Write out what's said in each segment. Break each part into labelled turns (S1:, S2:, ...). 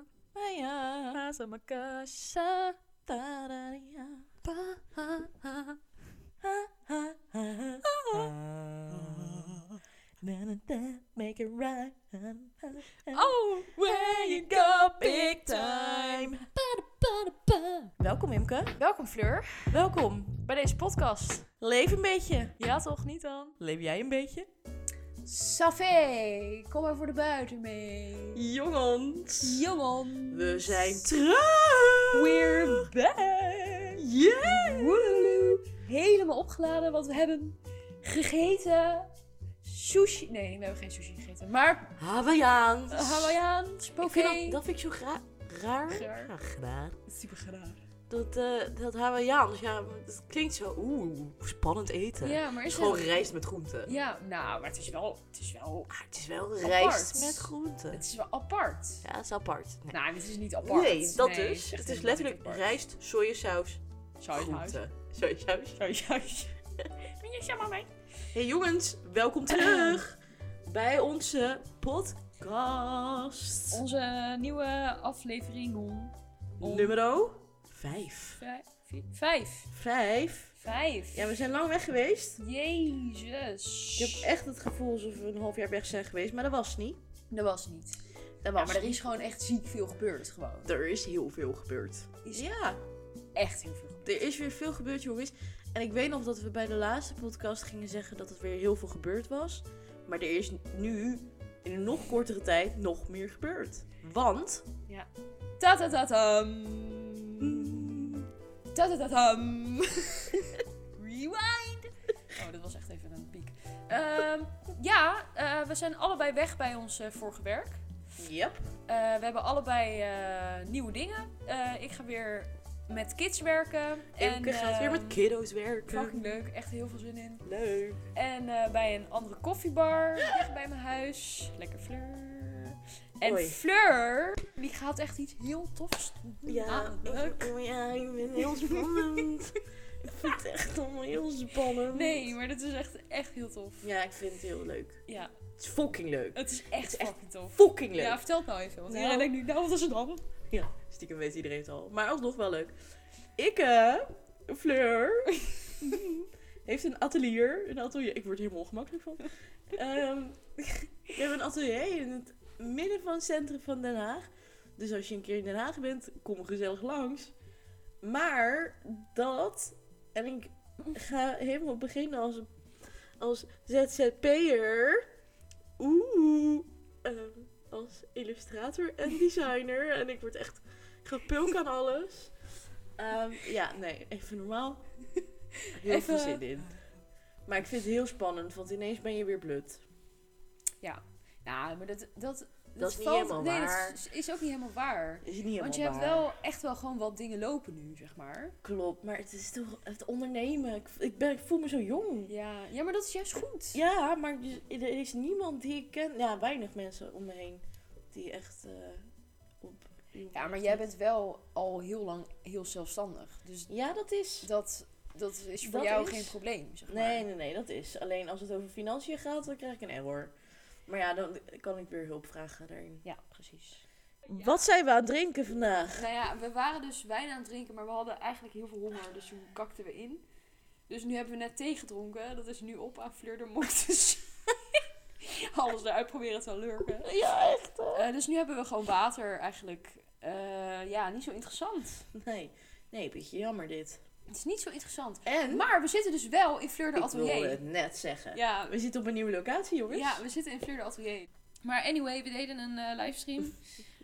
S1: uh, casa, uma caixa. Tararia, pa, ha, ha, ha, ha, ha, ha. Na, na, na, Make it right. Oh, where you go, big time. Pa, pa, pa. Welkom, Imke.
S2: Welkom Fleur,
S1: Welkom.
S2: bij deze podcast.
S1: Leef een beetje.
S2: Ja toch, niet dan?
S1: Leef jij een beetje?
S2: Safé, kom maar voor de buiten mee.
S1: Jongens.
S2: Jongen.
S1: We zijn terug.
S2: We're back.
S1: Yeah.
S2: Woedeloe. Helemaal opgeladen, want we hebben gegeten sushi. Nee, we hebben geen sushi gegeten, maar
S1: Hawaiiaans.
S2: eh, Hawaiiaans,
S1: Ik vind
S2: poké.
S1: dat, dat vind ik zo gra- raar.
S2: Raar.
S1: Ja, raar.
S2: super graag.
S1: Dat, eh dat Hawaiiaans, ja, dat klinkt zo oeh, spannend eten.
S2: Ja, maar
S1: het is
S2: is
S1: gewoon
S2: het...
S1: rijst met groenten.
S2: Ja, nou, maar het is wel, het is wel,
S1: Maar het is wel rijst
S2: Apart.
S1: met groenten.
S2: het is wel apart.
S1: Ja, dat is apart. Nee,
S2: Nou, dit is niet apart.
S1: Nee, dat
S2: Nee,
S1: dus. Het
S2: echt
S1: is
S2: helemaal
S1: letterlijk
S2: niet apart.
S1: rijst, sojasaus,
S2: Sojasaus.
S1: groenten. Sojasaus.
S2: Sojasaus. Ben je jammer mee?
S1: Hey jongens, welkom terug bij onze podcast.
S2: Onze nieuwe aflevering om... om-
S1: Nummer 5.
S2: Vijf. vier- Vijf.
S1: 5.
S2: Vijf.
S1: Ja, we zijn lang weg geweest.
S2: Jezus.
S1: Ik heb echt het gevoel alsof we een half jaar weg zijn geweest, maar dat was niet.
S2: Dat was niet.
S1: Dat
S2: Ja,
S1: was
S2: maar er
S1: niet.
S2: is gewoon echt ziek veel gebeurd. Gewoon.
S1: Er is heel veel gebeurd.
S2: Is-
S1: Ja,
S2: Echt heel veel gebeurd.
S1: er is weer veel gebeurd, jongens. En ik weet nog dat we bij de laatste podcast gingen zeggen dat het weer heel veel gebeurd was. Maar er is nu, in een nog kortere tijd, nog meer gebeurd. Want...
S2: Ta ta ta tam. Mm. Ta ta ta tam. Rewind. Oh, dat was echt even een piek. Ehm, ja, eh, we zijn allebei weg bij ons eh, vorige werk.
S1: Yep.
S2: Eh, we hebben allebei eh, nieuwe dingen. Eh, ik ga weer met kids werken.
S1: Imke gaat weer met
S2: ehm,
S1: kiddo's werken.
S2: Fucking leuk, echt heel veel zin in.
S1: eh, Leuk.
S2: En eh, bij een andere koffiebar, dicht bij mijn huis. Lekker Fleur. En
S1: Hoi.
S2: Fleur, die gaat echt iets heel tofs doen.
S1: Ja,
S2: Ah, leuk.
S1: ik, ja, ik ben heel spannend. ik vind het echt allemaal heel spannend.
S2: Nee, maar dit is echt, echt heel tof.
S1: Ja, ik vind het heel leuk.
S2: Ja,
S1: Het is fucking leuk.
S2: het is echt
S1: Het is echt
S2: fucking tof.
S1: Fucking leuk.
S2: Ja, vertel het nou even. Want
S1: Nou.
S2: iedereen denkt nu, nou wat is het dan?
S1: Ja, stiekem weet iedereen het al. Maar alsnog wel leuk. Ik, eh, Fleur, heeft een atelier. Een atelier. Ik word er helemaal ongemakkelijk van. Ehm, ik heb een atelier in het midden van het centrum van Den Haag. Dus als je een keer in Den Haag bent, kom gezellig langs. Maar dat, en ik ga helemaal beginnen als, als ZZP'er. Oeh. ehm, als illustrator en designer. en ik word echt gepulk aan alles. Ehm, ja, nee, even normaal. Heel
S2: Even-
S1: veel zin in. Maar ik vind het heel spannend, want ineens ben je weer blut.
S2: Nou, maar dat... Dat,
S1: is niet helemaal
S2: nee,
S1: waar.
S2: dat is, is ook niet helemaal waar.
S1: Is niet helemaal
S2: Want je hebt
S1: waar.
S2: wel echt wel gewoon wat dingen lopen nu, zeg maar.
S1: Klopt, maar het is toch het ondernemen. Ik, ik, ben, ik voel me zo jong.
S2: Ja, ja, maar dat is juist goed.
S1: Ja, maar dus- er is niemand die ik ken. Ja, weinig mensen om me heen die echt eh, op.
S2: Ja, maar jij bent wel al heel lang heel zelfstandig. Dus
S1: Ja, dat is.
S2: dat, dat is voor
S1: Dat
S2: jou
S1: is-
S2: geen probleem, zeg maar.
S1: Nee, nee, nee, dat is. Alleen als het over financiën gaat, dan krijg ik een error. Maar ja, dan kan ik weer hulp vragen daarin.
S2: Ja, precies.
S1: Wat zijn we aan het drinken vandaag?
S2: Nou ja, we waren dus wijn aan het drinken, maar we hadden eigenlijk heel veel honger. Dus toen kakten we in. Dus nu hebben we net thee gedronken. Dat is nu op aan Fleur de Mok. Dus alles eruit proberen te lurken.
S1: Ja, echt.
S2: Eh, dus nu hebben we gewoon water eigenlijk. Eh, ja, niet zo interessant.
S1: Nee, nee, beetje jammer dit.
S2: Het is niet zo interessant.
S1: En,
S2: Maar we zitten dus wel in Fleur de
S1: ik wilde
S2: Atelier.
S1: het net zeggen.
S2: Ja,
S1: We zitten op een nieuwe locatie, jongens.
S2: Ja, we zitten in Fleur de Atelier. Maar anyway, we deden een eh, livestream.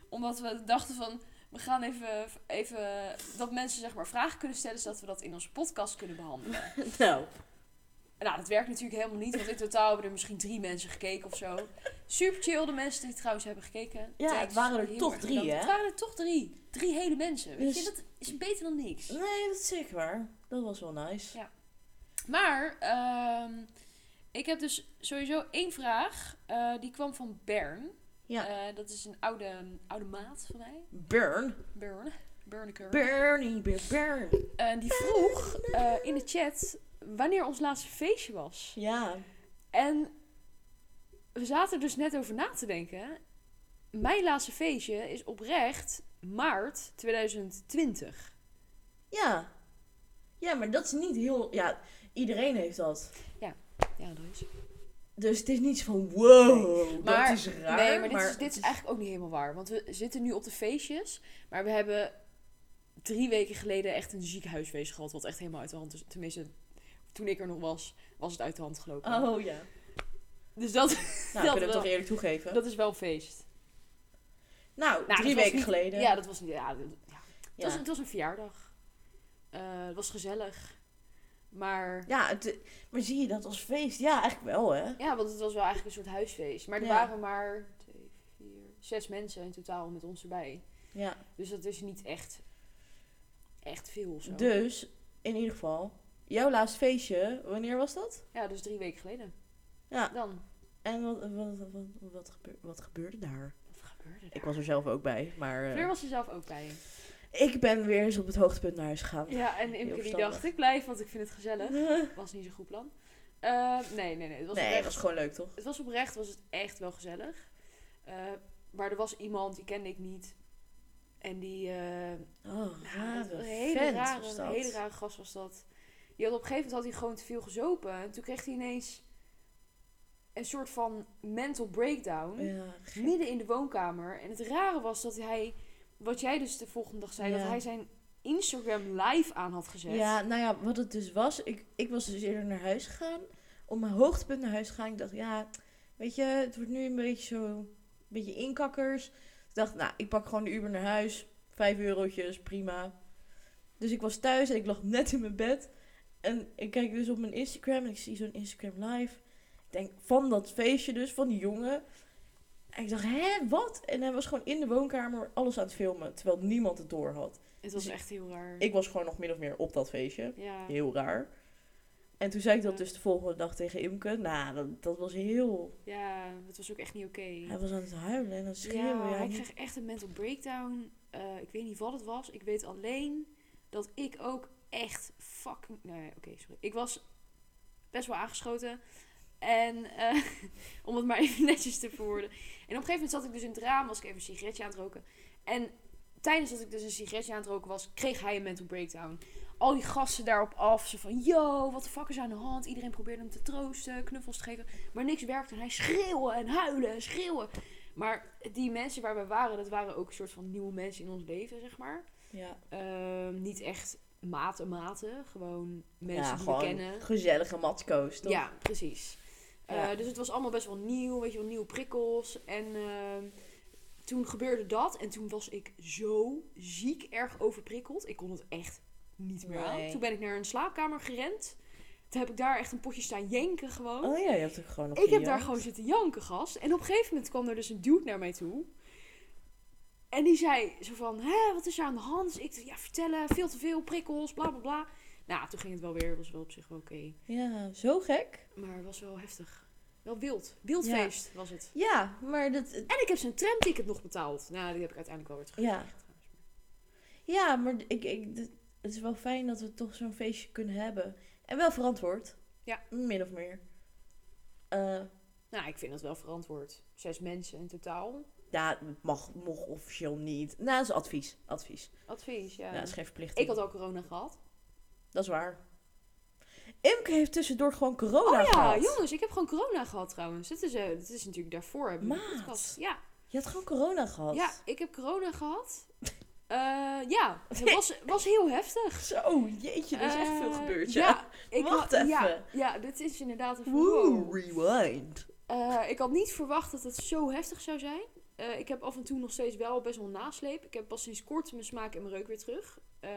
S2: omdat we dachten van, we gaan even, even dat mensen zeg maar vragen kunnen stellen, zodat we dat in onze podcast kunnen behandelen.
S1: Nou,
S2: En nou, dat werkt natuurlijk helemaal niet, want in totaal hebben er misschien drie mensen gekeken of zo. Super chill de mensen die trouwens hebben gekeken.
S1: Ja, het waren er
S2: heel
S1: toch
S2: erg
S1: drie,
S2: bedankt.
S1: hè?
S2: Het waren er toch drie. Drie hele mensen. Weet
S1: Dus-
S2: je, dat is beter dan niks.
S1: nee, dat is zeker waar. Dat was wel nice.
S2: Ja. Maar ehm, ik heb dus sowieso één vraag. Eh, die kwam van Bern.
S1: Ja.
S2: Eh, dat is een oude, oude maat van mij.
S1: Burn.
S2: Bern. Berneker.
S1: Burnie, burn, burn.
S2: En die vroeg eh, in de chat wanneer ons laatste feestje was.
S1: Ja.
S2: En we zaten er dus net over na te denken. Mijn laatste feestje is oprecht maart 2020.
S1: Ja. Ja, maar dat is niet heel... Ja, iedereen heeft dat.
S2: Ja, dat is.
S1: Dus het is niet zo van wow,
S2: Maar-
S1: dat is raar.
S2: nee, maar dit, is, dit is eigenlijk ook niet helemaal waar. Want we zitten nu op de feestjes. Maar we hebben drie weken geleden echt een ziekenhuisfeest gehad. Wat echt helemaal uit de hand is. Tenminste, toen ik er nog was, was het uit de hand gelopen.
S1: Oh ja.
S2: Dus dat,
S1: Nou,
S2: Dat
S1: kunnen we
S2: wel.
S1: toch eerlijk toegeven.
S2: dat is wel een feest.
S1: nou,
S2: Nou,
S1: drie
S2: dat was
S1: weken
S2: niet-
S1: geleden.
S2: Ja, dat was niet... Ja, dat- ja. Het,
S1: Ja.
S2: was, het was een verjaardag. Eh, het was gezellig. Maar...
S1: Ja, het- maar zie je dat als feest? Ja, eigenlijk wel, hè?
S2: Ja, want het was wel eigenlijk een soort huisfeest. Maar er
S1: Ja.
S2: waren maar twee, vier, zes mensen in totaal met ons erbij.
S1: Ja.
S2: Dus dat is niet echt, echt veel of zo.
S1: Dus, in ieder geval, jouw laatste feestje, wanneer was dat?
S2: Ja, dus drie weken geleden.
S1: Ja.
S2: Dan.
S1: En wat, wat, wat, wat, gebeur- wat gebeurde daar?
S2: Wat gebeurde er?
S1: Ik was er zelf ook bij, maar eh,
S2: Fleur was er zelf ook bij.
S1: ik ben weer eens op het hoogtepunt naar huis gegaan.
S2: Ja, en Imke die
S1: verstandig.
S2: dacht, ik blijf, want ik vind het gezellig. Was niet zo'n goed plan. Eh, nee, nee, nee. Het was,
S1: nee,
S2: oprecht,
S1: dat was gewoon leuk, toch?
S2: het was oprecht, was het echt wel gezellig. Eh, maar er was iemand, die kende ik niet. En die, eh,
S1: Oh,
S2: Ja, dat
S1: rare
S2: was een hele
S1: vent
S2: rare,
S1: was
S2: een
S1: dat.
S2: hele rare gast was dat. Die had op een gegeven moment had hij gewoon te veel gezopen. En toen kreeg hij ineens een soort van mental breakdown.
S1: Ja,
S2: Midden in de woonkamer. En het rare was dat hij, wat jij dus de volgende dag zei,
S1: Ja.
S2: dat hij zijn Instagram live aan had gezet.
S1: Ja, nou ja, wat het dus was, ik, ik was dus eerder naar huis gegaan. Om mijn hoogtepunt naar huis te gaan. Ik dacht, ja, weet je, het wordt nu een beetje zo, een beetje inkakkers. Ik dacht, nou, ik pak gewoon de Uber naar huis. Vijf eurotjes, prima. Dus ik was thuis en ik lag net in mijn bed. En ik kijk dus op mijn Instagram en ik zie zo'n Instagram live. Ik denk, van dat feestje dus, van die jongen. En ik dacht, hè, wat? En hij was gewoon in de woonkamer alles aan het filmen, terwijl niemand het door had.
S2: Het was
S1: Dus
S2: echt heel raar.
S1: Ik was gewoon nog min of meer op dat feestje.
S2: ja.
S1: Heel raar. En toen zei ik dat
S2: Ja.
S1: dus de volgende dag tegen Imke. Nou, dat, dat was heel...
S2: ja, het was ook echt niet oké.
S1: Hij was aan het huilen en aan het schreeuwen.
S2: Ja,
S1: Ja,
S2: hij
S1: niet-
S2: kreeg echt een mental breakdown. Eh, ik weet niet wat het was. Ik weet alleen dat ik ook echt fucking... Nee, oké, sorry. Ik was best wel aangeschoten. En eh, om het maar even netjes te verwoorden. En op een gegeven moment zat ik dus in het raam, was ik even een sigaretje aan het roken. En tijdens dat ik dus een sigaretje aan het roken was, kreeg hij een mental breakdown. Al die gasten daarop af. Ze van, yo, wat de fuck is aan de hand? Iedereen probeerde hem te troosten, knuffels te geven. Maar niks werkte. En hij schreeuwen en huilen en schreeuwen. Maar die mensen waar we waren, dat waren ook een soort van nieuwe mensen in ons leven, zeg maar.
S1: ja.
S2: Ehm, niet echt maten maten, gewoon mensen
S1: ja
S2: die
S1: gewoon
S2: we kennen.
S1: gezellige matskoos, toch?
S2: Ja, precies.
S1: Ja.
S2: Eh, dus het was allemaal best wel nieuw, weet je wel, nieuwe prikkels. En ehm, toen gebeurde dat en toen was ik zo ziek erg overprikkeld. Ik kon het echt niet meer aan.
S1: Nee.
S2: Toen ben ik naar een slaapkamer gerend. Toen heb ik daar echt een potje staan jenken gewoon.
S1: Oh ja, je hebt ook gewoon nog
S2: Ik heb
S1: gejankt.
S2: daar gewoon zitten janken, gast. En op een gegeven moment kwam er dus een dude naar mij toe. En die zei zo van, hè, wat is er aan de hand? Dus ik dacht, ja, vertellen, veel te veel prikkels, bla, bla, bla. Nou, toen ging het wel weer, was wel op zich wel oké.
S1: Ja, zo gek.
S2: Maar het was wel heftig. Wel wild. Wild
S1: Ja.
S2: feest was het.
S1: Ja, maar dat...
S2: En ik heb zijn tramticket nog betaald. Nou, die heb ik uiteindelijk wel weer terug.
S1: Ja. Ja, maar ik, ik, d- het is wel fijn dat we toch zo'n feestje kunnen hebben. En wel verantwoord.
S2: Ja.
S1: Min of meer. Eh,
S2: Nou, ik vind dat wel verantwoord. Zes mensen in totaal.
S1: ja, het mag, mocht officieel niet. Nou, dat is advies. Advies.
S2: Advies, ja.
S1: Ja, dat is geen verplichting.
S2: ik had al corona gehad.
S1: Dat is waar. Imke heeft tussendoor gewoon corona
S2: oh ja,
S1: gehad.
S2: jongens, ik heb gewoon corona gehad trouwens. Dat is, eh dat is natuurlijk daarvoor. Heb ik een
S1: Maat.
S2: podcast. Ja,
S1: Je had gewoon corona gehad.
S2: Ja, ik heb corona gehad. Eh, ja, het was, was heel heftig.
S1: Zo, jeetje, er is echt veel
S2: Eh,
S1: gebeurd. Ja.
S2: Ja, ik
S1: Wacht
S2: had- Ja,
S1: even.
S2: ja, dit is inderdaad een
S1: Woe, rewind.
S2: Eh, ik had niet verwacht dat het zo heftig zou zijn. Eh, ik heb af en toe nog steeds wel best wel nasleep. Ik heb pas sinds kort mijn smaak en mijn reuk weer terug. Eh,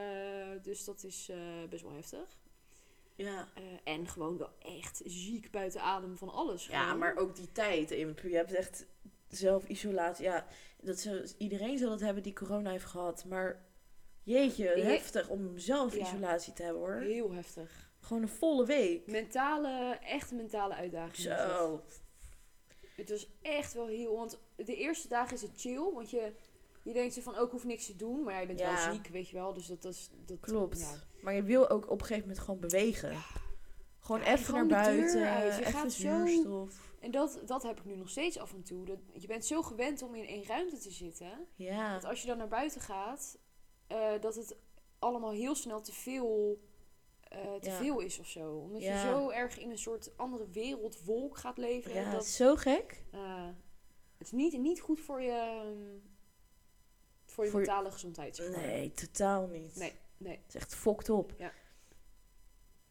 S2: dus dat is eh, best wel heftig.
S1: Ja.
S2: Eh, en gewoon wel echt ziek buiten adem van alles.
S1: ja,
S2: gewoon.
S1: maar ook die tijd, Imke. Je hebt echt zelfisolatie. Ja, dat ze, iedereen zal dat hebben die corona heeft gehad. Maar jeetje,
S2: Je-
S1: heftig om zelfisolatie te hebben hoor.
S2: Heel heftig.
S1: Gewoon een volle week.
S2: Mentale, echt mentale uitdaging. was het.
S1: Zo.
S2: Het was echt wel heel... Want de eerste dagen is het chill. Want je, je denkt zo van, ook hoef niks te doen. Maar ja, je bent
S1: Ja.
S2: wel ziek, weet je wel. Dus dat is... Dat,
S1: Klopt.
S2: ja.
S1: Maar je wil ook op een gegeven moment gewoon bewegen. Gewoon
S2: Ja,
S1: even
S2: gewoon
S1: naar
S2: de deur
S1: buiten.
S2: uit. Je
S1: even
S2: gaat zo-
S1: zuurstof.
S2: En dat, dat heb ik nu nog steeds af en toe. Dat, je bent zo gewend om in één ruimte te zitten.
S1: Ja.
S2: Dat als je dan naar buiten gaat, eh, dat het allemaal heel snel te veel, eh, te
S1: Ja.
S2: veel is of zo. Omdat
S1: Ja.
S2: je zo erg in een soort andere wereldwolk gaat leven.
S1: Ja,
S2: dat,
S1: dat is zo gek.
S2: eh, het is niet, niet goed voor je, ehm, voor je
S1: Voor je-
S2: mentale gezondheid. zeg maar.
S1: Nee, totaal niet.
S2: Nee, nee.
S1: Het is echt fokt op.
S2: Ja.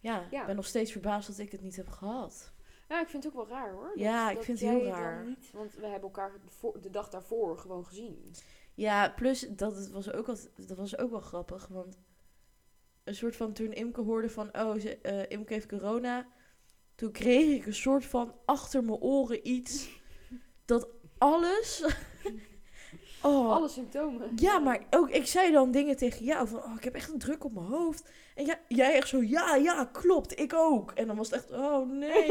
S1: Ja,
S2: Ja.
S1: ik ben nog steeds verbaasd dat ik het niet heb gehad.
S2: Ja, ik vind het ook wel raar hoor.
S1: Ja, ik vind het heel
S2: Oh, jij dan
S1: raar.
S2: Niet, want we hebben elkaar voor- de dag daarvoor gewoon gezien.
S1: Ja, plus dat, het was ook wat, dat was ook wel grappig. Want een soort van toen Imke hoorde van, oh, ze, eh, Imke heeft corona. Toen kreeg ik een soort van achter mijn oren iets. dat alles. oh,
S2: Alle symptomen.
S1: Ja, maar ook ik zei dan dingen tegen jou van, oh, ik heb echt een druk op mijn hoofd. En ja, jij echt zo, ja, ja, klopt, ik ook. En dan was het echt, oh nee.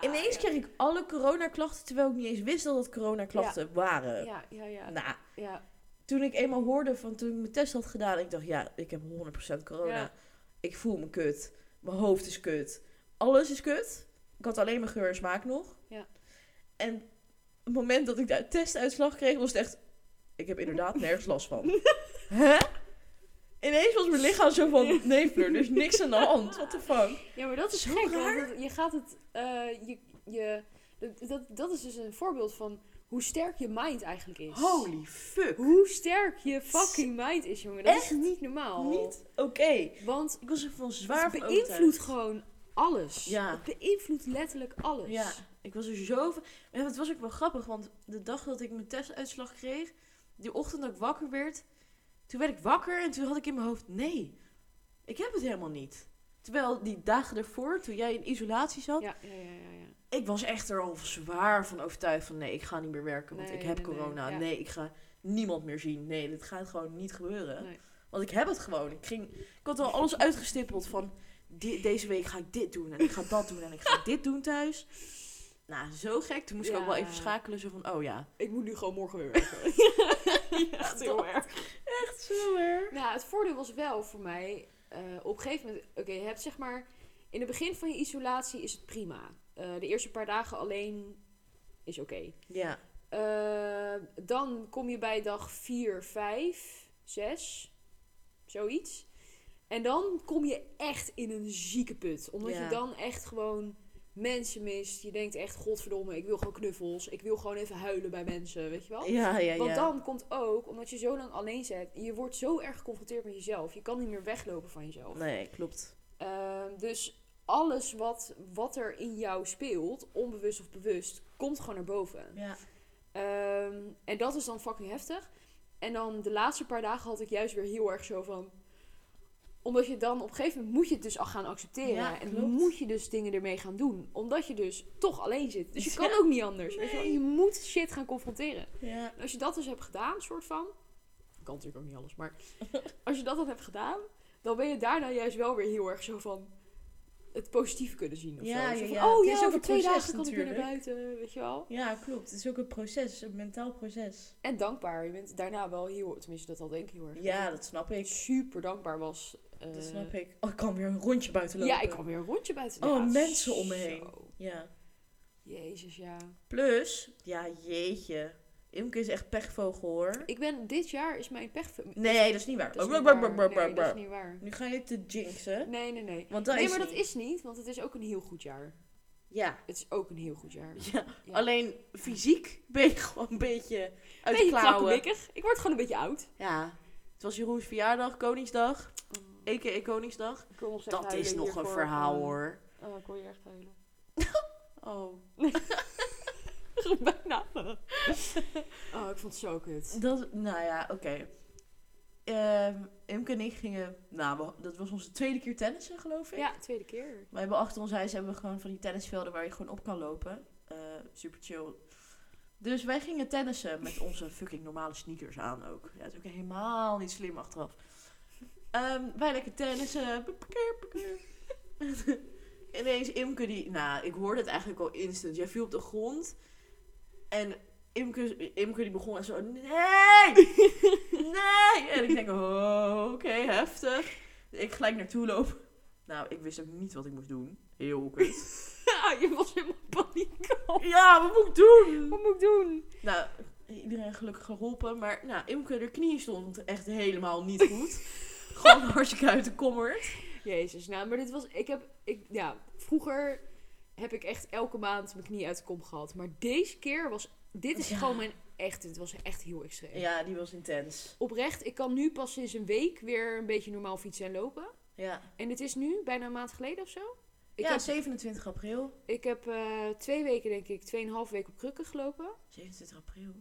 S1: Ineens kreeg ik alle coronaklachten, terwijl ik niet eens wist dat het coronaklachten waren.
S2: Ja, ja, ja.
S1: Nou,
S2: ja.
S1: toen ik eenmaal hoorde van toen ik mijn test had gedaan, ik dacht, ja, ik heb 100% corona.
S2: Ja.
S1: Ik voel me kut. Mijn hoofd is kut. Alles is kut. Ik had alleen mijn geur en smaak nog.
S2: Ja.
S1: En het moment dat ik de testuitslag kreeg, was het echt, ik heb inderdaad nergens last van. Hè? Ineens was mijn lichaam zo van, nee Fleur, er is niks aan de hand. What the fuck?
S2: Ja, maar dat is
S1: Zo
S2: gek. Want het- je gaat het. eh, je, je, dat- dat, dat is dus een voorbeeld van hoe sterk je mind eigenlijk is.
S1: Holy fuck.
S2: Hoe sterk je fucking mind is, jongen. Dat is
S1: Echt
S2: niet normaal.
S1: Niet oké.
S2: Want
S1: Ik was er van zwaar
S2: het
S1: van
S2: beïnvloedt
S1: overtuigd.
S2: gewoon alles.
S1: Ja.
S2: Het beïnvloedt letterlijk alles.
S1: Ja, ik was er zo van. Ja, het was ook wel grappig, want de dag dat ik mijn testuitslag kreeg, die ochtend dat ik wakker werd, toen werd ik wakker en toen had ik in mijn hoofd: nee, ik heb het helemaal niet. Terwijl die dagen daarvoor, toen jij in isolatie zat,
S2: Ja, ja, ja, ja, ja.
S1: ik was echt er al zwaar van overtuigd van nee, ik ga niet meer werken, want
S2: Nee,
S1: ik heb
S2: nee, nee,
S1: corona. Nee,
S2: ja.
S1: ik ga niemand meer zien. Nee, dit gaat gewoon niet gebeuren.
S2: Nee.
S1: Want ik heb het gewoon. Ik, ging, ik had al alles uitgestippeld van di- deze week ga ik dit doen en ik ga dat doen en ik ga dit doen thuis. Nou, zo gek. Toen moest ik ook wel
S2: Ja.
S1: even schakelen. Zo van, oh ja.
S2: Ik moet nu gewoon morgen weer werken.
S1: Echt heel
S2: erg.
S1: Echt zo erg.
S2: Nou, het voordeel was wel voor mij. eh, op een gegeven moment. Oké, je hebt zeg maar. In het begin van je isolatie is het prima. Eh, de eerste paar dagen alleen is oké.
S1: Ja.
S2: Eh, dan kom je bij dag 4, 5, 6, zoiets. En dan kom je echt in een zieke put. Omdat
S1: Ja.
S2: je dan echt gewoon mensen mist. Je denkt echt, godverdomme, ik wil gewoon knuffels. Ik wil gewoon even huilen bij mensen, weet je wel?
S1: Ja, ja, ja.
S2: Want dan komt ook, omdat je zo lang alleen zit, je wordt zo erg geconfronteerd met jezelf. Je kan niet meer weglopen van jezelf.
S1: Nee, klopt.
S2: Ehm, dus alles wat, wat er in jou speelt, onbewust of bewust, komt gewoon naar boven.
S1: Ja.
S2: Ehm, en dat is dan fucking heftig. En dan de laatste paar dagen had ik juist weer heel erg zo van omdat je dan op een gegeven moment moet je het dus al gaan accepteren.
S1: Ja,
S2: en
S1: klopt.
S2: moet je dus dingen ermee gaan doen. Omdat je dus toch alleen zit. Dus je kan
S1: Ja.
S2: ook niet anders. weet je wel. Je moet shit gaan confronteren.
S1: Ja.
S2: En als je dat dus hebt gedaan, soort van. Ik kan natuurlijk ook niet alles, maar. als je dat dan hebt gedaan, dan ben je daarna juist wel weer heel erg zo van. het positieve kunnen zien. Of
S1: Ja,
S2: zo. Zo
S1: ja,
S2: van,
S1: ja.
S2: Oh
S1: Het
S2: ja,
S1: is ook
S2: over
S1: een
S2: twee
S1: proces
S2: dagen kan ik weer naar buiten, weet je wel.
S1: Ja, klopt. Het is ook een proces. Een mentaal proces.
S2: En dankbaar. Je bent daarna wel heel. tenminste, dat had ik heel erg.
S1: Ja, dat snap ik.
S2: super dankbaar was. eh,
S1: Dat snap ik. Oh, ik kan weer een rondje buiten lopen.
S2: Ja, ik kwam weer een rondje buiten.
S1: Oh,
S2: Ja,
S1: mensen om me
S2: zo.
S1: heen. Ja.
S2: Jezus, ja.
S1: Plus, ja, jeetje. Imke is echt pechvogel hoor.
S2: Ik ben, dit jaar is mijn pech...
S1: Nee, dat is niet waar.
S2: Dat is niet waar. Nee, dat is niet waar.
S1: Nu ga je te jinxen.
S2: Nee, nee, nee.
S1: Want dat
S2: nee,
S1: is
S2: maar dat
S1: niet.
S2: is niet, want het is ook een heel goed jaar.
S1: Ja.
S2: Het is ook een heel goed jaar.
S1: ja.
S2: Ja.
S1: Alleen fysiek ben je gewoon een beetje uit de
S2: beetje
S1: klauwen.
S2: klakkebikkig. Ik word gewoon een beetje oud.
S1: Ja. Het was Jeroens verjaardag, Koningsdag.
S2: Oh.
S1: A.k.a. Koningsdag.
S2: Ik kon nog steeds
S1: Dat
S2: huilen
S1: is nog een
S2: hiervoor.
S1: verhaal
S2: Oh.
S1: hoor.
S2: Oh, ik kon je echt huilen.
S1: Oh.
S2: Bijna. Oh, ik vond het zo kut.
S1: Dat, nou ja, oké. Ehm, Imke en ik gingen, nou, we- dat was onze tweede keer tennissen geloof ik.
S2: Ja, tweede keer.
S1: We hebben achter ons huis hebben we gewoon van die tennisvelden waar je gewoon op kan lopen. Eh, super chill. Dus wij gingen tennissen met onze fucking normale sneakers aan ook. Ja, dat is ook helemaal niet slim achteraf. Ehm, wij lekker tennissen. Pukkeer, pukkeer. Ineens Imke die... Nou, ik hoorde het eigenlijk al instant. Jij viel op de grond. En Imke, Imke die begon en zo... Nee! Nee! En ik denk, oh, oké, heftig. Ik gelijk naartoe lopen. Nou, ik wist ook niet wat ik moest doen. Heel kut.
S2: ja, Ah, je was helemaal in paniek.
S1: Ja, wat moet ik doen?
S2: Wat moet ik doen?
S1: Nou, iedereen gelukkig geholpen. Maar nou, Imke, haar knie stond echt helemaal niet goed. Gewoon hartstikke uit de kommer.
S2: Jezus, nou, maar dit was... Ik heb... Ik, ja, vroeger heb ik echt elke maand mijn knie uit de kom gehad. Maar deze keer was... Dit is
S1: Ja.
S2: gewoon mijn echt... Dit was echt heel extreem.
S1: Ja, die was intens.
S2: Oprecht, ik kan nu pas sinds een week weer een beetje normaal fietsen en lopen.
S1: Ja,
S2: En dit is nu bijna een maand geleden of zo. Ik
S1: ja
S2: heb,
S1: 27 april.
S2: ik heb eh, twee weken, denk ik, tweeënhalf weken op krukken gelopen.
S1: 27 april.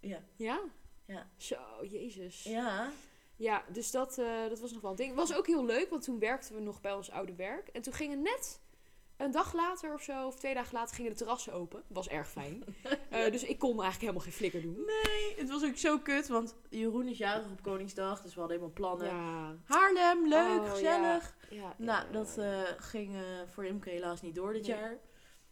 S1: Ja.
S2: Ja?
S1: Ja.
S2: Zo, jezus.
S1: Ja.
S2: Ja, dus dat, eh, dat was nog wel een ding. Was ook heel leuk, want toen werkten we nog bij ons oude werk. En toen gingen net een dag later of zo, of twee dagen later, gingen de terrassen open. Was erg fijn. Eh, dus ik kon eigenlijk helemaal geen flikker doen.
S1: Nee, het was ook zo kut, want Jeroen is jarig op Koningsdag, dus we hadden helemaal plannen.
S2: Ja.
S1: Haarlem, leuk,
S2: Oh,
S1: gezellig.
S2: ja, ja,
S1: Nou,
S2: ja.
S1: dat eh, ging eh, voor Imke helaas niet door dit
S2: Nee.
S1: jaar.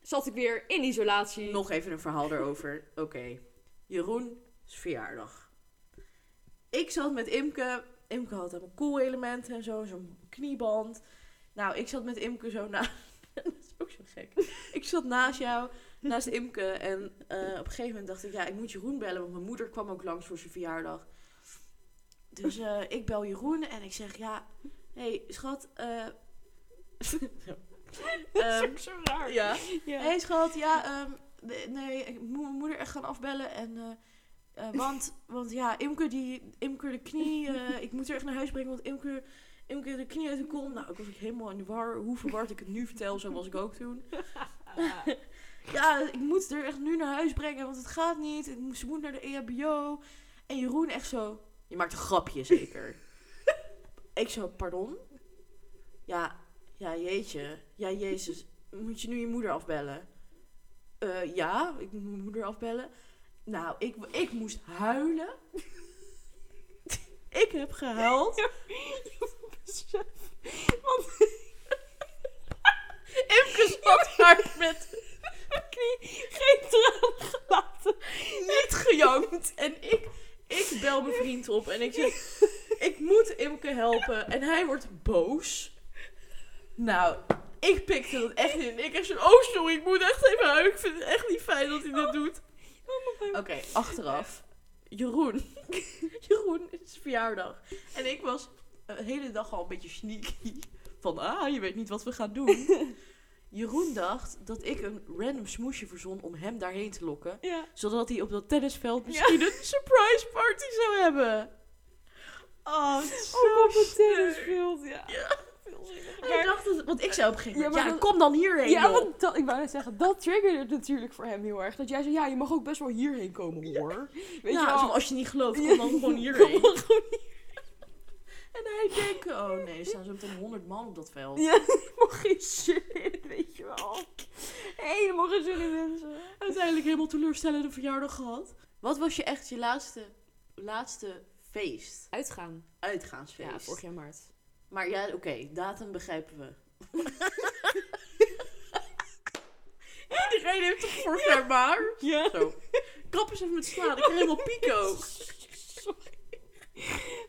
S2: Zat ik weer in isolatie.
S1: Nog even een verhaal erover. Oké, Jeroen is verjaardag. Ik zat met Imke. Imke had allemaal cool elementen en zo, zo'n knieband. Nou, ik zat met Imke zo na. dat is ook zo gek. Ik zat naast jou, naast Imke. En eh, op een gegeven moment dacht ik, ja, ik moet Jeroen bellen, want mijn moeder kwam ook langs voor zijn verjaardag. Dus eh, ik bel Jeroen en ik zeg, ja, hé hey, schat. eh
S2: dat is
S1: Ehm,
S2: ook zo raar.
S1: ja.
S2: Ja.
S1: Hé hey, schat, ja, ehm, de- nee, ik moet mijn moeder echt gaan afbellen. En, eh, eh, want, want ja, Imke, die, Imke de knie, eh, ik moet haar echt naar huis brengen, want Imke, Imke de knie uit de kom. Nou, ik was ook helemaal in de war. Hoe verward ik het nu vertel, zo was ik ook toen.
S2: Ah,
S1: Ja, ik moet haar echt nu naar huis brengen, want het gaat niet. Ik moet- Ze moet naar de E EHBO. En Jeroen echt zo, je maakt een grapje zeker. ik zo, pardon? Ja, ja, jeetje. Ja, jezus. Moet je nu je moeder afbellen? Eh, ja, ik moet mijn moeder afbellen. Nou, ik, ik moest huilen. ik heb gehuild. Imke zat haar met knie geen traan gelaten. Niet gejankt. En ik, ik bel mijn vriend op en ik zeg... Ik moet Imke helpen. En hij wordt boos. Nou, ik pikte dat echt in. Ik heb zo'n... Oh, sorry, ik moet echt even huilen. Ik vind het echt niet fijn dat hij dat doet. Oké, achteraf. Jeroen. Jeroen, het is verjaardag. En ik was eh, de hele dag al een beetje sneaky. Van, ah, je weet niet wat we gaan doen. Jeroen dacht dat ik een random smoesje verzon om hem daarheen te lokken.
S2: ja.
S1: Zodat hij op dat tennisveld misschien een surprise party zou hebben. Oh, het is zo
S2: Ook op het
S1: sneu.
S2: tennisveld, ja. Veel zielig.
S1: Hij dacht dat, want ik zei op een gegeven
S2: Ja,
S1: moment, ja,
S2: maar dat-
S1: kom dan hierheen.
S2: Ja,
S1: joh.
S2: want dat, ik wou net zeggen, dat triggerde het natuurlijk voor hem heel erg. Dat jij zei, ja, je mag ook best wel hierheen komen hoor. Weet
S1: ja,
S2: je wel?
S1: zo, als je niet gelooft, kom dan gewoon
S2: Kom
S1: hierheen.
S2: dan gewoon
S1: En hij denkt, oh nee, er staan zo meteen honderd man op dat veld.
S2: Ja, helemaal geen zin in, weet je wel. Helemaal geen zin in mensen.
S1: Uiteindelijk helemaal teleurstellende verjaardag gehad. Wat was je echt je laatste, laatste feest?
S2: Uitgaan.
S1: Uitgaansfeest.
S2: Ja, vorig jaar maart.
S1: Maar ja, oké, datum begrijpen we. Iedereen heeft toch vorig jaar maar?
S2: Ja.
S1: Zo. Kap eens even met slaan, ik heb helemaal pico.
S2: Sorry.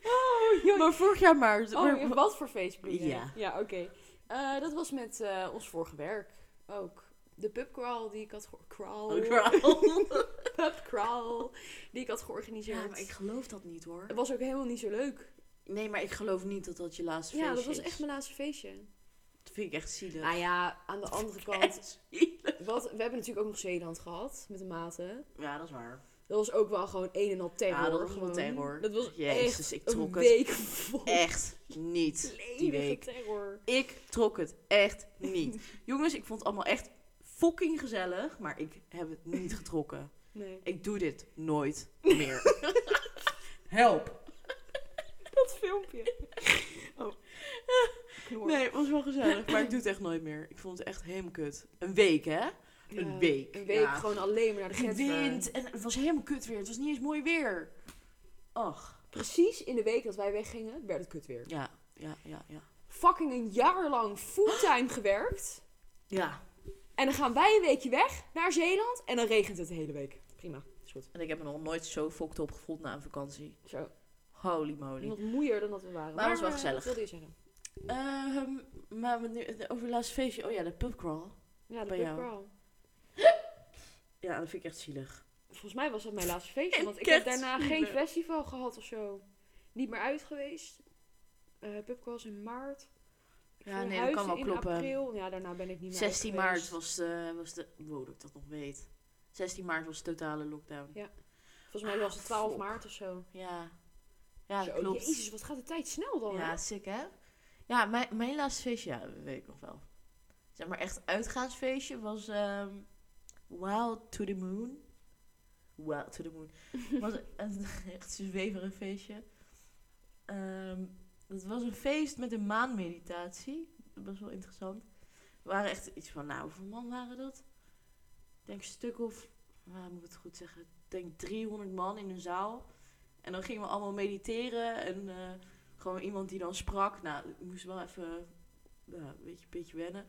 S2: Oh, joh.
S1: Maar vorig jaar maart.
S2: oh,
S1: maar-
S2: ja, wat voor feest bedoel jij?
S1: Ja.
S2: Ja, oké. Eh, dat was met eh, ons vorige werk ook. De pubcrawl die ik had... geor- Crawl.
S1: Oh, girl.
S2: Pubcrawl die ik had georganiseerd.
S1: Ja, maar ik geloof dat niet hoor.
S2: Het was ook helemaal niet zo leuk.
S1: Nee, maar ik geloof niet dat dat je laatste
S2: Ja,
S1: feestje
S2: dat
S1: is.
S2: was echt mijn laatste feestje.
S1: Dat vind ik echt zielig.
S2: Nou ja, aan de andere kant.
S1: Echt zielig.
S2: Wat, we hebben natuurlijk ook nog Zeeland gehad met de maten.
S1: Ja, dat is waar.
S2: Dat was ook wel gewoon een en al terror.
S1: Ja, dat was gewoon terror.
S2: Dat was
S1: Jezus,
S2: echt
S1: ik trok
S2: een
S1: het
S2: week vol
S1: Echt niet. Die
S2: levende
S1: week.
S2: terror.
S1: Ik trok het echt niet. Jongens, ik vond het allemaal echt fucking gezellig, maar ik heb het niet getrokken.
S2: Nee.
S1: Ik doe dit nooit meer. Help.
S2: Dat filmpje. Oh.
S1: Nee, het was wel gezellig, maar ik doe het echt nooit meer. Ik vond het echt helemaal kut. Een week, hè? een
S2: Ja,
S1: week,
S2: Een week
S1: ja.
S2: gewoon alleen maar naar de grens.
S1: Wind. En het was helemaal kut weer. Het was niet eens mooi weer. Ach.
S2: Precies in de week dat wij weggingen, werd het kut weer.
S1: Ja, ja, ja, ja.
S2: Fucking een jaar lang fulltime gewerkt.
S1: Ja.
S2: En dan gaan wij een weekje weg naar Zeeland. En dan regent het de hele week. Prima, is goed.
S1: En ik heb me nog nooit zo fokt opgevoeld na een vakantie.
S2: Zo.
S1: Holy moly.
S2: Wat moeier dan dat we waren.
S1: Maar het was wel
S2: eh,
S1: gezellig.
S2: Dat wilde je zeggen.
S1: Ehm, maar we nu, over het laatste feestje. Oh ja, de pubcrawl.
S2: Ja, de
S1: Bij
S2: Big
S1: jou.
S2: Girl.
S1: Ja, dat vind ik echt zielig.
S2: Volgens mij was dat mijn laatste feestje.
S1: En
S2: Want ik heb
S1: kerstvieren.
S2: daarna geen festival gehad of zo. Niet meer uit geweest. Eh Pubco was in maart. Ik
S1: Ja,
S2: ging
S1: nee, dat kan
S2: huizen
S1: wel
S2: in
S1: kloppen.
S2: April. Ja, daarna ben ik niet meer
S1: 16
S2: uit geweest.
S1: maart was de, was de... Wow, dat ik dat nog weet. 16 maart was de totale lockdown.
S2: Ja. Volgens mij was het 12
S1: Ah,
S2: maart of zo.
S1: Ja. Ja, dat
S2: Zo,
S1: klopt.
S2: Jezus, wat gaat de tijd snel dan? hè?
S1: Ja, sick hè? Ja, mijn, mijn laatste feestje, ja, dat weet ik nog wel. Zeg maar echt uitgaansfeestje was ehm, Wild to the Moon. Wild to the Moon. was een echt zweverig feestje. Ehm, het was een feest met een maanmeditatie. Dat was wel interessant. Er waren echt iets van, nou, hoeveel man waren dat? Ik denk een stuk of, nou, moet ik het goed zeggen, ik denk 300 man in een zaal. En dan gingen we allemaal mediteren en... eh, gewoon iemand die dan sprak. Nou, ik moest wel even ja, een beetje, beetje wennen.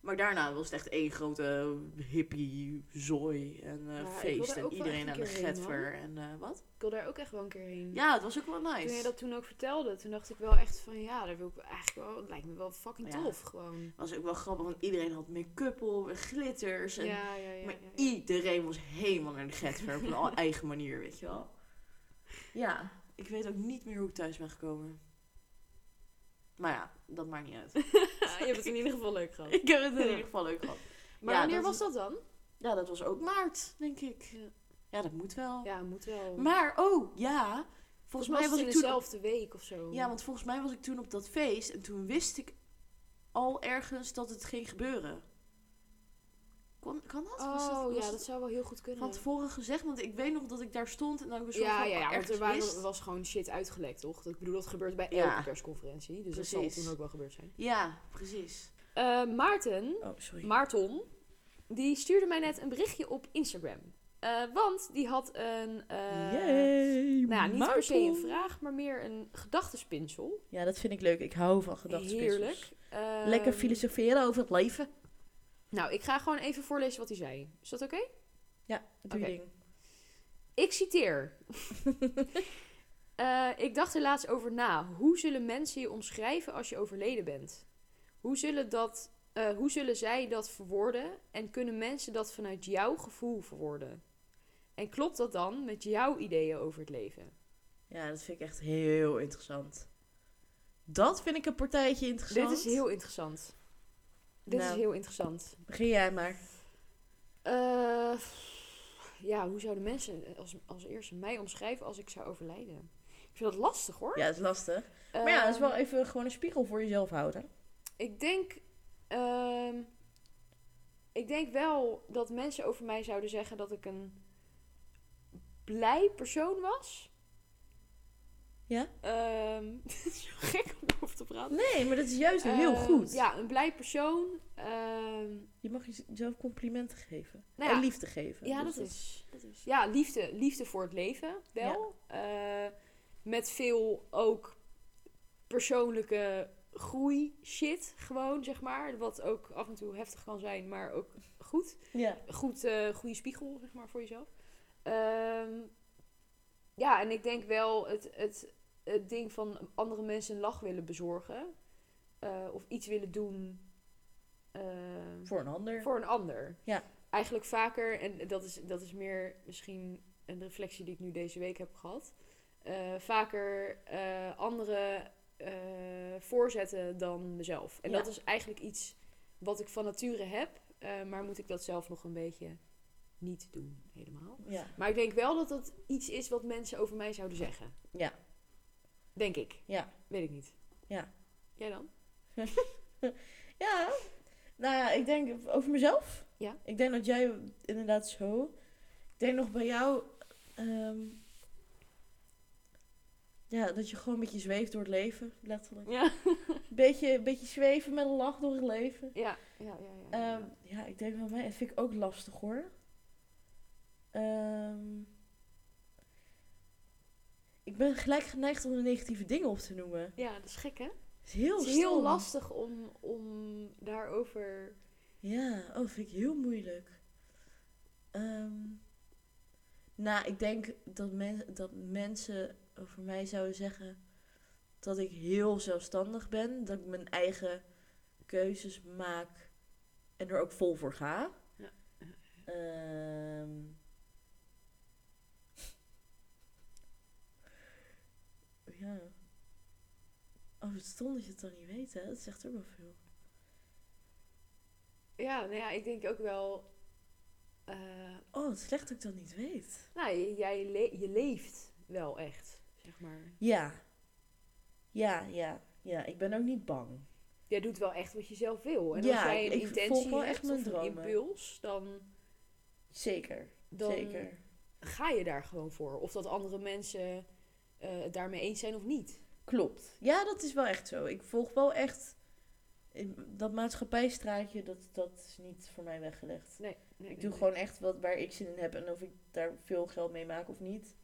S1: Maar daarna was het echt één grote hippie zooi en eh,
S2: Ja, ik wil
S1: feest.
S2: daar
S1: En
S2: ook wel
S1: iedereen
S2: echt
S1: aan
S2: een
S1: de
S2: keer heen,
S1: getver. En eh, wat?
S2: Ik wil daar ook echt wel een keer heen.
S1: Ja, het was ook wel
S2: Toen jij
S1: nice.
S2: dat toen ook vertelde, toen dacht ik wel echt van ja, daar wil ik eigenlijk wel. Het lijkt me wel fucking
S1: Ja.
S2: tof gewoon.
S1: was ook wel grappig, want iedereen had make-up op en glitters. En...
S2: Ja, ja, ja.
S1: maar
S2: ja, ja.
S1: iedereen was helemaal naar de getver op een al- eigen manier, weet je wel. Ja, ik weet ook niet meer hoe ik thuis ben gekomen. Maar ja, dat maakt niet uit.
S2: Je hebt het in ieder geval leuk gehad.
S1: ik heb het in ieder geval leuk gehad.
S2: Maar
S1: Ja,
S2: wanneer
S1: dat Oh.
S2: was
S1: is-
S2: dat dan?
S1: Ja, dat was ook maart, denk ik. Ja,
S2: Ja.
S1: dat moet wel.
S2: Ja, moet wel.
S1: Maar, oh, ja. Volgens mij was
S2: het
S1: ik
S2: in
S1: toen... op-
S2: dezelfde week of zo.
S1: Ja, want volgens mij was ik toen op dat feest. En toen wist ik al ergens dat het ging gebeuren. Kon, kan dat? Was dat-
S2: Oh
S1: was
S2: ja,
S1: dat
S2: dat zou wel heel goed kunnen.
S1: van tevoren gezegd? Want ik weet nog dat ik daar stond en dat ik een soort
S2: ja,
S1: van oh,
S2: ja, ja, want
S1: ergens
S2: er waren,
S1: wist.
S2: was gewoon shit uitgelekt, toch? Dat- Ik bedoel, dat gebeurt bij
S1: Ja.
S2: elke persconferentie. Dus dat
S1: Precies.
S2: zal toen ook wel gebeurd zijn.
S1: Ja, precies.
S2: Eh, Maarten,
S1: Oh, sorry.
S2: Maarton, die stuurde mij net een berichtje op Instagram. Eh, want die had een... eh,
S1: Yay,
S2: Nou ja, niet per se een
S1: Maarten.
S2: vraag, maar meer een gedachtespinsel.
S1: Ja, dat vind ik leuk. Ik hou van gedachtespinsels.
S2: Heerlijk. Ehm,
S1: Lekker filosoferen over het leven.
S2: Nou, ik ga gewoon even voorlezen wat hij zei. Is dat oké?
S1: Ja, doe je
S2: Oké.
S1: ding.
S2: Ik citeer. Eh, ik dacht er laatst over na. Hoe zullen mensen je omschrijven als je overleden bent? Hoe zullen, dat, eh, hoe zullen zij dat verwoorden? En kunnen mensen dat vanuit jouw gevoel verwoorden? En klopt dat dan met jouw ideeën over het leven?
S1: Ja, dat vind ik echt heel interessant. Dat vind ik een partijtje interessant.
S2: Dit is heel interessant. Dit
S1: Nou.
S2: is heel interessant.
S1: Begin jij maar.
S2: Eh, ja, hoe zouden mensen als, als eerste mij omschrijven als ik zou overlijden? Ik vind dat lastig hoor.
S1: Ja, dat is lastig. Maar ja, dat is
S2: Ehm,
S1: wel even gewoon een spiegel voor jezelf houden.
S2: Ik denk. ehm, ik denk wel dat mensen over mij zouden zeggen dat ik een blij persoon was.
S1: Ja?
S2: Ehm, het is zo gek om over te praten.
S1: Nee, maar dat is juist heel
S2: Ehm,
S1: goed.
S2: Ja, een blij persoon. ehm,
S1: Je mag jezelf complimenten geven.
S2: Nou ja.
S1: En liefde geven.
S2: ja,
S1: Dus
S2: dat is, dat is. Ja, liefde, liefde voor het leven wel. Eh, met veel ook persoonlijke groei shit gewoon, zeg maar. Wat ook af en toe heftig kan zijn, maar ook goed.
S1: Ja.
S2: goed, eh, goede spiegel, zeg maar, voor jezelf. Ehm, ja, en ik denk wel het, het, het ding van andere mensen een lach willen bezorgen. eh, of iets willen doen eh,
S1: Voor een ander.
S2: voor een ander.
S1: Ja.
S2: Eigenlijk vaker, en dat is, dat is meer misschien een reflectie die ik nu deze week heb gehad. eh, vaker eh, anderen eh, voorzetten dan mezelf. En
S1: Ja.
S2: dat is eigenlijk iets wat ik van nature heb. eh, maar moet ik dat zelf nog een beetje niet doen, helemaal.
S1: Ja.
S2: Maar ik denk wel dat dat iets is wat mensen over mij zouden zeggen.
S1: Ja.
S2: Denk ik.
S1: Ja.
S2: Weet ik niet.
S1: Ja.
S2: Jij dan?
S1: Ja. Nou ja, ik denk over mezelf.
S2: Ja.
S1: Ik denk dat jij inderdaad zo. Ik denk nog bij jou. ehm, ja, dat je gewoon een beetje zweeft door het leven, letterlijk.
S2: Ja.
S1: Beetje, beetje zweven met een lach door het leven.
S2: Ja, ja, ja. ja, ja.
S1: Ehm, ja, ik denk wel mij. Dat vind ik ook lastig hoor. Ehm, ik ben gelijk geneigd om de negatieve dingen op te noemen.
S2: Ja, dat is gek, hè?
S1: Het is heel,
S2: het is heel
S1: stom.
S2: lastig om, om daarover...
S1: Ja, oh, dat vind ik heel moeilijk. Ehm, nou, ik denk dat, men, dat mensen over mij zouden zeggen dat ik heel zelfstandig ben. Dat ik mijn eigen keuzes maak En er ook vol voor ga.
S2: Ja.
S1: Ehm. ja. Oh, het stond dat je het dan niet weet, hè? Dat zegt ook wel veel.
S2: Ja, nou ja, ik denk ook wel. eh,
S1: Oh, het is slecht dat ik dat niet weet.
S2: nou, j- jij le- je leeft wel echt, zeg maar.
S1: Ja. Ja, ja. Ja, ik ben ook niet bang.
S2: Jij doet wel echt wat je zelf wil. En
S1: Ja,
S2: als jij
S1: ik-
S2: een
S1: ik
S2: intentie
S1: volg wel
S2: hebt
S1: echt mijn
S2: of een
S1: dromen.
S2: impuls, dan,
S1: Zeker.
S2: dan
S1: Zeker.
S2: ga je daar gewoon voor. Of dat andere mensen eh, het daarmee eens zijn of niet.
S1: Klopt. Ja, dat is wel echt zo. Ik volg wel echt... eh, Dat maatschappijstraatje, dat, dat is niet voor mij weggelegd.
S2: Nee, nee,
S1: Ik doe gewoon echt wat, waar ik zin in heb. En of ik daar veel geld mee maak of niet.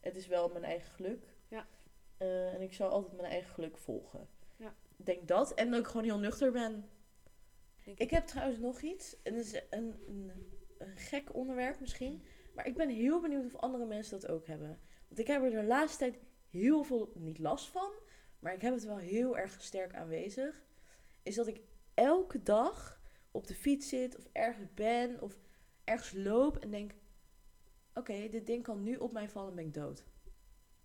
S1: Het is wel mijn eigen geluk.
S2: Ja.
S1: Eh, en ik zal altijd mijn eigen geluk volgen.
S2: Ja.
S1: Ik denk dat. En dat ik gewoon heel nuchter ben.
S2: Denk
S1: Ik heb trouwens nog iets. En dat is een, een, een gek onderwerp misschien. Maar ik ben heel benieuwd of andere mensen dat ook hebben. Want ik heb er de laatste tijd heel veel, niet last van. Maar ik heb het wel heel erg sterk aanwezig. Is dat ik elke dag op de fiets zit. Of ergens ben. Of ergens loop. En denk, oké, dit ding kan nu op mij vallen en ben ik dood.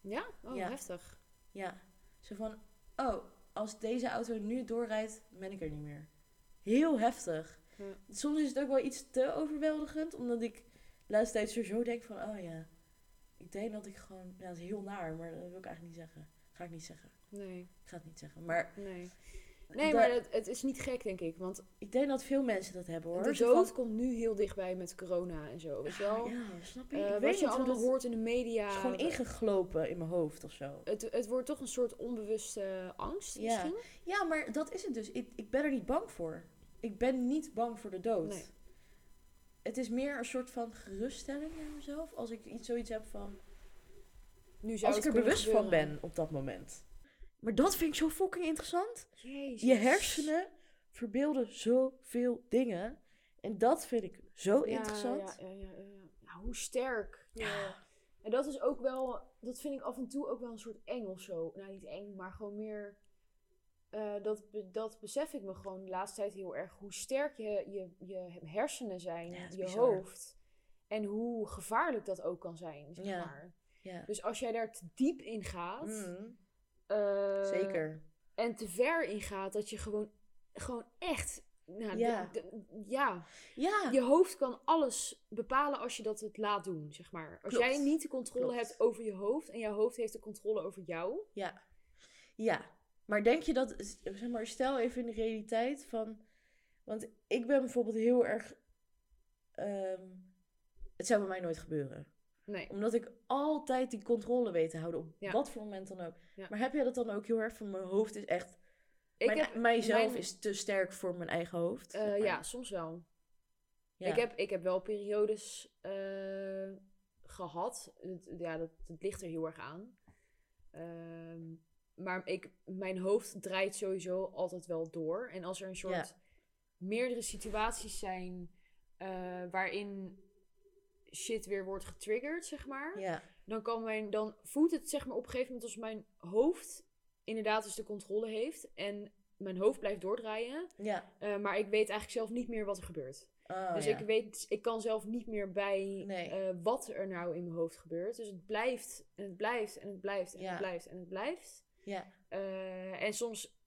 S2: Ja? Oh,
S1: Ja.
S2: heftig.
S1: Ja. Zo van, oh, als deze auto nu doorrijdt, ben ik er niet meer. Heel heftig.
S2: Ja.
S1: Soms is het ook wel iets te overweldigend, omdat ik de laatste tijd sowieso denk van, oh ja, ik denk dat ik gewoon, ja, het is heel naar, maar dat wil ik eigenlijk niet zeggen. Ga ik niet zeggen.
S2: Nee,
S1: Ik ga het niet zeggen. Maar
S2: nee. Nee,
S1: de-
S2: maar het, het is niet gek, denk ik. Want
S1: ik denk dat veel mensen dat hebben hoor.
S2: de
S1: Zo van- ah
S2: dood komt nu heel dichtbij met corona en zo. Weet je wel?
S1: Ja, snap je?
S2: Eh,
S1: ik
S2: wat
S1: weet
S2: je
S1: niet, want
S2: allemaal
S1: het
S2: hoort in de media.
S1: is gewoon ingeglopen in mijn hoofd of zo.
S2: het, het wordt toch een soort onbewuste angst
S1: Ja.
S2: misschien?
S1: Ja, maar dat is het dus. Ik, ik ben er niet bang voor. Ik ben niet bang voor de dood.
S2: Nee.
S1: Het is meer een soort van geruststelling naar mezelf. Als ik iets, zoiets heb van.
S2: Nu zou
S1: Als ik
S2: het
S1: er
S2: kunnen
S1: bewust van
S2: gebeuren.
S1: ben op dat moment. Maar dat vind ik zo fucking interessant.
S2: Jezus.
S1: Je hersenen verbeelden zoveel dingen. En dat vind ik zo
S2: Ja,
S1: interessant.
S2: Ja, ja, ja, ja, ja. Ja, hoe sterk. je- En dat is ook wel, dat vind ik af en toe ook wel een soort eng of zo. Nou, niet eng, maar gewoon meer. eh, dat, be- dat besef ik me gewoon de laatste tijd heel erg. Hoe sterk je, je, je hersenen zijn,
S1: Ja, dat is
S2: je
S1: bizar.
S2: hoofd. En hoe gevaarlijk dat ook kan zijn, zeg
S1: Ja.
S2: maar.
S1: Ja.
S2: Dus als jij daar te diep in gaat.
S1: Mm,
S2: eh,
S1: zeker.
S2: En te ver in gaat, dat je gewoon, gewoon echt. Nou,
S1: Ja.
S2: de- de- ja,
S1: Ja.
S2: je hoofd kan alles bepalen als je dat het laat doen, zeg maar. Als
S1: Klopt.
S2: jij niet de controle
S1: Klopt.
S2: hebt over je hoofd en jouw hoofd heeft de controle over jou.
S1: Ja. Ja. Maar denk je dat, zeg maar, stel even in de realiteit van. Want ik ben bijvoorbeeld heel erg. ehm, het zou bij mij nooit gebeuren.
S2: Nee.
S1: Omdat ik altijd die controle weet te houden op
S2: Ja.
S1: wat voor moment dan ook.
S2: Ja.
S1: Maar heb jij dat dan ook heel erg van mijn hoofd is echt.
S2: Ik
S1: mijn,
S2: heb,
S1: mijzelf
S2: mijn-
S1: is te sterk voor mijn eigen hoofd.
S2: eh,
S1: zeg maar.
S2: ja, soms wel.
S1: Ja.
S2: Ik, heb, ik heb wel periodes eh, gehad. Het- ja, dat, dat ligt er heel erg aan. Ehm, maar ik, mijn hoofd draait sowieso altijd wel door. En als er een soort meerdere situaties zijn eh, waarin shit weer wordt getriggerd, zeg maar.
S1: Ja.
S2: dan kan mijn, dan voelt het zeg maar op een gegeven moment als mijn hoofd inderdaad dus de controle heeft en mijn hoofd blijft doordraaien,
S1: Ja.
S2: eh, maar ik weet eigenlijk zelf niet meer wat er gebeurt.
S1: Oh,
S2: dus
S1: ja.
S2: ik weet, ik kan zelf niet meer bij
S1: Nee.
S2: eh, wat er nou in mijn hoofd gebeurt. Dus het blijft en het blijft en het blijft en
S1: Ja.
S2: het blijft en het blijft.
S1: Ja.
S2: Eh, en soms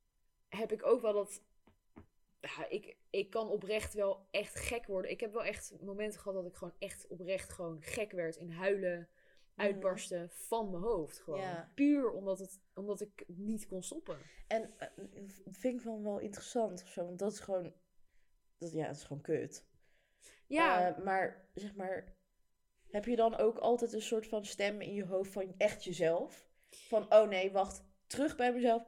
S2: heb ik ook wel dat. Ja, ik, ik kan oprecht wel echt gek worden. Ik heb wel echt momenten gehad dat ik gewoon echt oprecht gewoon gek werd in huilen,
S1: Mm.
S2: uitbarsten van mijn hoofd. Gewoon.
S1: Ja.
S2: Puur omdat, het, omdat ik het niet kon stoppen.
S1: En eh, vind ik dan wel interessant of zo. Want dat is gewoon. Dat, ja, dat is gewoon kut.
S2: Ja,
S1: Eh, maar zeg maar, heb je dan ook altijd een soort van stem in je hoofd van echt jezelf? Van oh nee, wacht, terug bij mezelf.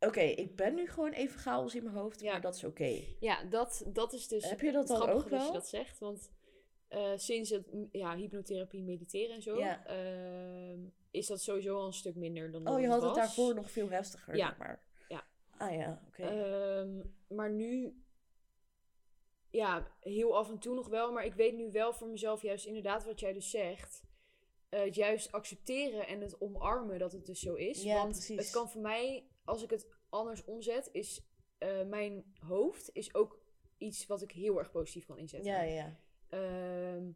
S1: Oké, ik ben nu gewoon even chaos in mijn hoofd,
S2: Ja.
S1: maar dat is oké.
S2: ja dat, dat is dus
S1: Heb je dat
S2: Het
S1: dan ook
S2: grappige dat
S1: wel?
S2: je dat zegt, want eh, sinds het, m- ja, hypnotherapie, mediteren en zo,
S1: Ja.
S2: ehm, is dat sowieso al een stuk minder dan
S1: Oh,
S2: dat
S1: je had
S2: was.
S1: het daarvoor nog veel heftiger,
S2: Ja.
S1: zeg maar.
S2: Ja.
S1: Ah ja, oké.
S2: Ehm, maar nu, ja, heel af en toe nog wel, maar ik weet nu wel voor mezelf juist inderdaad wat jij dus zegt. eh, het juist accepteren en het omarmen dat het dus zo is.
S1: Ja,
S2: want
S1: precies.
S2: het kan voor mij, als ik het anders omzet, is eh, mijn hoofd is ook iets wat ik heel erg positief kan inzetten.
S1: Ja, ja.
S2: Ehm,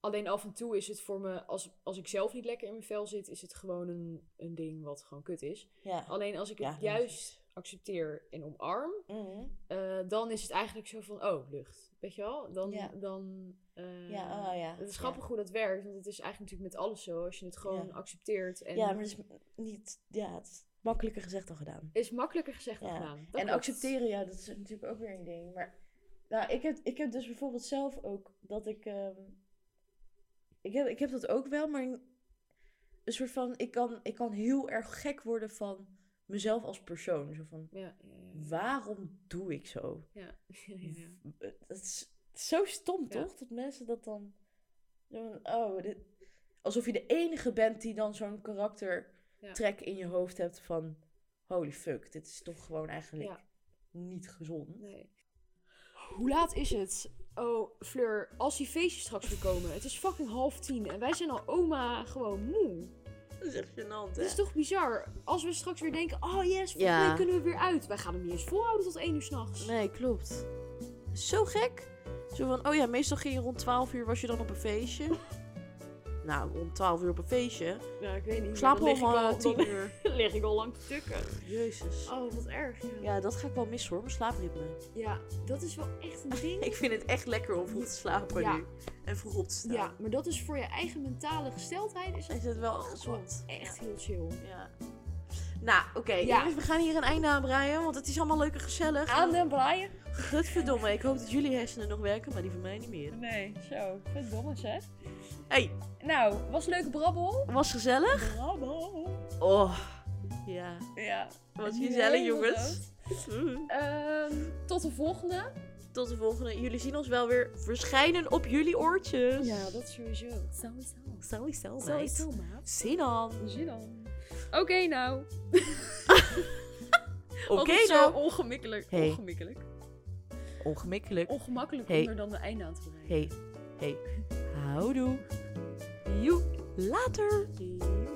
S2: alleen af en toe is het voor me, als, als ik zelf niet lekker in mijn vel zit, is het gewoon een, een ding wat gewoon kut is.
S1: Ja.
S2: Alleen als ik het
S1: Ja,
S2: juist accepteer en omarm,
S1: Mhm.
S2: eh, dan is het eigenlijk zo van, oh, lucht. Weet je wel? Dan,
S1: Ja.
S2: dan eh,
S1: Ja, oh ja,
S2: Het is
S1: ja.
S2: grappig hoe dat werkt, want het is eigenlijk natuurlijk met alles zo. Als je het gewoon
S1: Ja.
S2: accepteert. En
S1: ja, maar het is niet... Ja, het is makkelijker gezegd dan gedaan.
S2: is makkelijker gezegd dan
S1: Ja.
S2: gedaan. Dat
S1: en
S2: klopt.
S1: accepteren, ja, dat is natuurlijk ook weer een ding. Maar nou, ik, heb, ik heb dus bijvoorbeeld zelf ook dat ik. ehm, ik, heb, ik heb dat ook wel, maar een soort van. Ik kan, ik kan heel erg gek worden van mezelf als persoon. Zo van:
S2: Ja, ja, ja.
S1: waarom doe ik zo?
S2: Ja, ja, ja.
S1: Dat is zo stom,
S2: Ja.
S1: toch? Dat mensen dat dan. zo van, Oh, dit, alsof je de enige bent die dan zo'n karaktertrek in je hoofd hebt van. Holy fuck, dit is toch gewoon eigenlijk
S2: Ja.
S1: niet gezond.
S2: Nee. Hoe laat is het? Oh, Fleur, als die feestjes straks weer komen. Het is fucking half tien en wij zijn al oma gewoon moe.
S1: Dat is echt gênant,
S2: Dat is toch bizar? Als we straks weer denken, oh yes, volgende
S1: Eh. Ja.
S2: week kunnen we weer uit. Wij gaan hem niet eens volhouden tot één uur s'nachts.
S1: Nee, klopt. Zo gek. Zo van, oh ja, meestal ging je rond 12 uur, was je dan op een feestje. nou, rond 12 uur op een feestje.
S2: Ja, ik weet niet.
S1: Slaap
S2: dan lig ik
S1: allemaal
S2: al
S1: tien
S2: dan
S1: uur.
S2: lig ik al lang te tukken.
S1: Jezus.
S2: Oh, wat erg. Ja.
S1: Ja, dat ga ik wel missen hoor, mijn slaapritme.
S2: Ja, dat is wel echt een ding.
S1: Ik vind het echt lekker om vroeg te slapen
S2: Ja.
S1: nu. En vroeg op te staan.
S2: Ja, maar dat is voor je eigen mentale gesteldheid is dat
S1: Is het wel gezond.
S2: echt heel chill.
S1: Ja. Nou, oké.
S2: Ja.
S1: jongens, We gaan hier een einde aan breien, want het is allemaal leuk en gezellig.
S3: den Brian?
S1: Godverdomme, ik hoop dat jullie hersenen nog werken, maar die van mij niet meer.
S3: Nee, zo. Ik vind het dom hè?
S1: hey,
S3: Nou, was leuke brabbel.
S1: was gezellig?
S3: Brabbel.
S1: Oh, ja.
S3: Ja.
S1: Wat
S3: Die
S1: gezellig,
S3: hele
S1: jongens. Mm.
S3: Ehm, tot de volgende.
S1: Tot de volgende. Jullie zien ons wel weer verschijnen op jullie oortjes.
S2: dat sowieso.
S3: Sowieso.
S1: Sowieso, meid.
S2: Sowieso, maat.
S1: Zin dan.
S3: Zie dan. Oké, nou.
S1: Oké
S3: Altijd zo
S1: dan.
S3: Ongemakkelijk.
S1: Hey.
S3: Ongemakkelijk.
S1: Ongemakkelijk.
S3: Ongemakkelijk
S1: Hey.
S3: om er dan de einde aan te brengen.
S1: Hey, hey. Houdoe. Joe. Later.
S3: Joe.